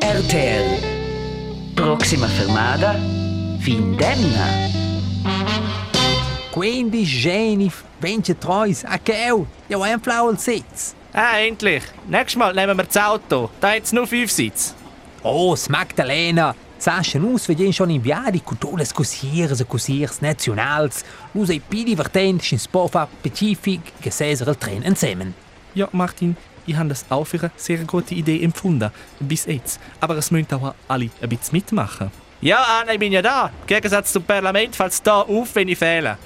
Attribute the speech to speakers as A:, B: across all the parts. A: RTL. Prossima fermata, Findenna.
B: Quindi, Jennifer, 23, Akeo, ja, ein Flower Sitz.
C: Ah, endlich. Nächstes Mal nehmen wir das Auto. Da hat es nur fünf Sitze.
B: Oh, Magdalena, Sascha, nus vediamo schon in viadi con tutte le cosiere e cosiere nazionali. Nus è più divertente in spofa specific che sesere il treno insieme.
C: Ja, Martin, ich habe das auch für eine sehr gute Idee empfunden. Bis jetzt. Aber es müssen auch alle ein bisschen mitmachen. Ja, Anne, ich bin ja da. Im Gegensatz zum Parlament fällt es da auf, wenn ich fehle.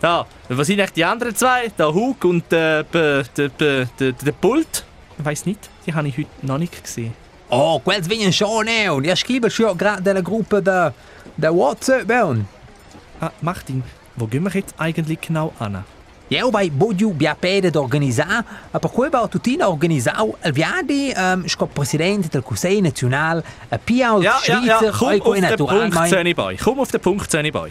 C: Da, was sind eigentlich die anderen zwei? Der Hug und äh, der, der, der, der, der, der Pult? Ich weiss nicht, die habe ich heute noch nicht gesehen.
B: Oh, quels vengono schon eh, und ich scrivo schon gerade della Gruppe da, da WhatsApp on.
C: Ah, Martin, wo gehen wir jetzt eigentlich genau an?
B: Ja, bei Bodiu Biapede d'organizzare, per cui va tutina organizzau il no viadi, um, ich glaube Präsident der Conseil National, a Pia und
C: Ja, ja,
B: eh, Schweizer,
C: ja, komm auf den Punkt,
B: Naturalmein.
C: Zöniboy. Komm auf den Punkt, Zöniboy.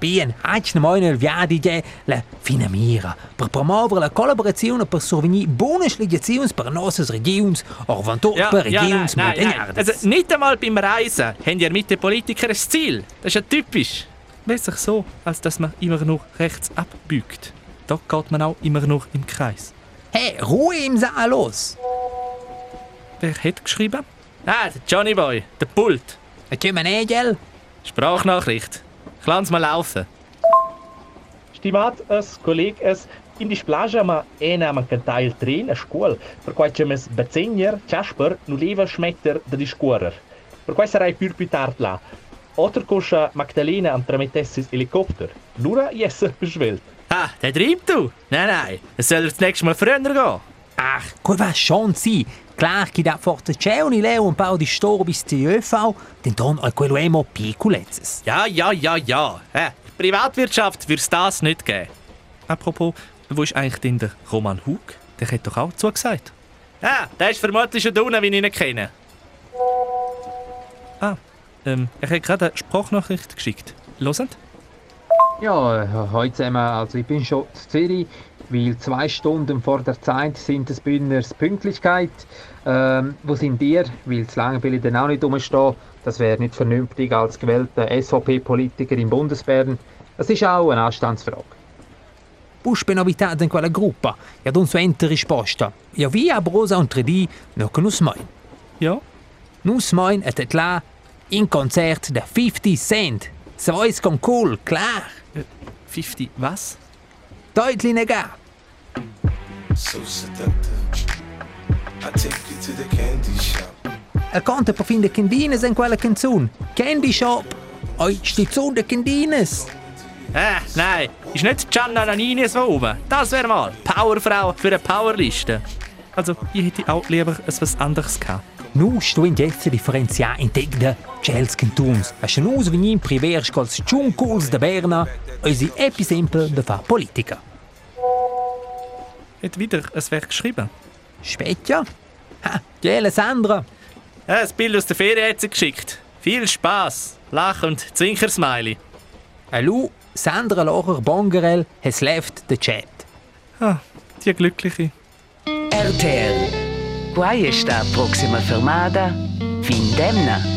B: Bien, oggi noi nel viadi c'è la fine mira, per promuovere la collaborazione per sorvenire buone scegliazioni per nostre regioni, o vantor
C: Ja,
B: per regioni montagnardes.
C: Also, nicht einmal beim Reisen haben ihr mit den Politikern ein Ziel. Das ist ja typisch. Besser so, als dass man immer nur rechts abbiegt. Da geht man auch immer nur im Kreis.
B: Hey, Ruhe im Saal Eh, los!
C: Wer hat geschrieben? Ah, der Johnny Boy, der Pult.
B: Da kommen eh, gell?
C: Sprachnachricht. Ich lass mal laufen.
D: Stimați colegi, indici plaja ma ena ma cantai il tren a scuol, per quai ce mes bezegner, Casper, nu leva schmetter da discuorer. Per quai sarai pur più tard la. Otter coscia Magdalena am tramettessis helicopter. Nura jesser beschwelt.
C: Ah, der treibt du? Nein, nein. Es soll das nächste Mal früher gehen.
B: Ach, quel va schon si! Klar, chi da forte c'è un ileo un paio di storbi sti ÖV, tenton al äh, quello emo piccolezes.
C: Ja, ja, ja, ja. Hä, Privatwirtschaft wird's das nicht geben. Apropos, wo ist eigentlich denn der Roman Hug? Der hat doch auch zugesagt. Ah, der ist vermutlich schon da unten, wie ich ihn kenne. Ah, ähm, er hat gerade eine Sprachnachricht geschickt. Losend?
E: Ja, heute zusammen, also ich bin schon zu Zürich, weil zwei Stunden vor der Zeit sind des Bündners Pünktlichkeit. Ähm, wo sind ihr? Weil zu lange will ich dann auch nicht rumstehen. Das wäre nicht vernünftig als gewählter SVP-Politiker im Bundesbären. Das ist auch eine Anstandsfrage.
B: Puspe novità in quella gruppa, e ad un suo ente risposta. Ja, via brosa un 3D, no che nus moin.
C: Ja.
B: Nus moin et et la, in concert da 50 Cent. Svois con cool, klar,
C: 50, was?
B: deutlich negar.
F: so seductive. I take you to the candy shop.
B: Er konnte per fin de Kindines in quella canzun. Candy Shop, oi, sti zu de Kindines.
C: Ah, nein, ist nicht Gianna Nannini so oben. Das wäre mal Powerfrau für eine Powerliste. Also, ich hätte auch lieber etwas anderes gehabt.
B: Nu stuin jetzt differenziar in tec de cels cantuns. A nus venim privers cols ciunculs de Berna, eisi episempel de fa politica.
C: Hat wieder ein Werk geschrieben.
B: Spetja? Ha, gele Sandra.
C: Ja, das Äh, Bild aus der Ferien hat sie geschickt. Viel Spaß, Lach und Zinkersmiley.
B: Alu, Sandra Locher Bongerel has left the chat.
C: Ah, die Glückliche.
A: RTL. Qua è sta prossima fermata, Findenna.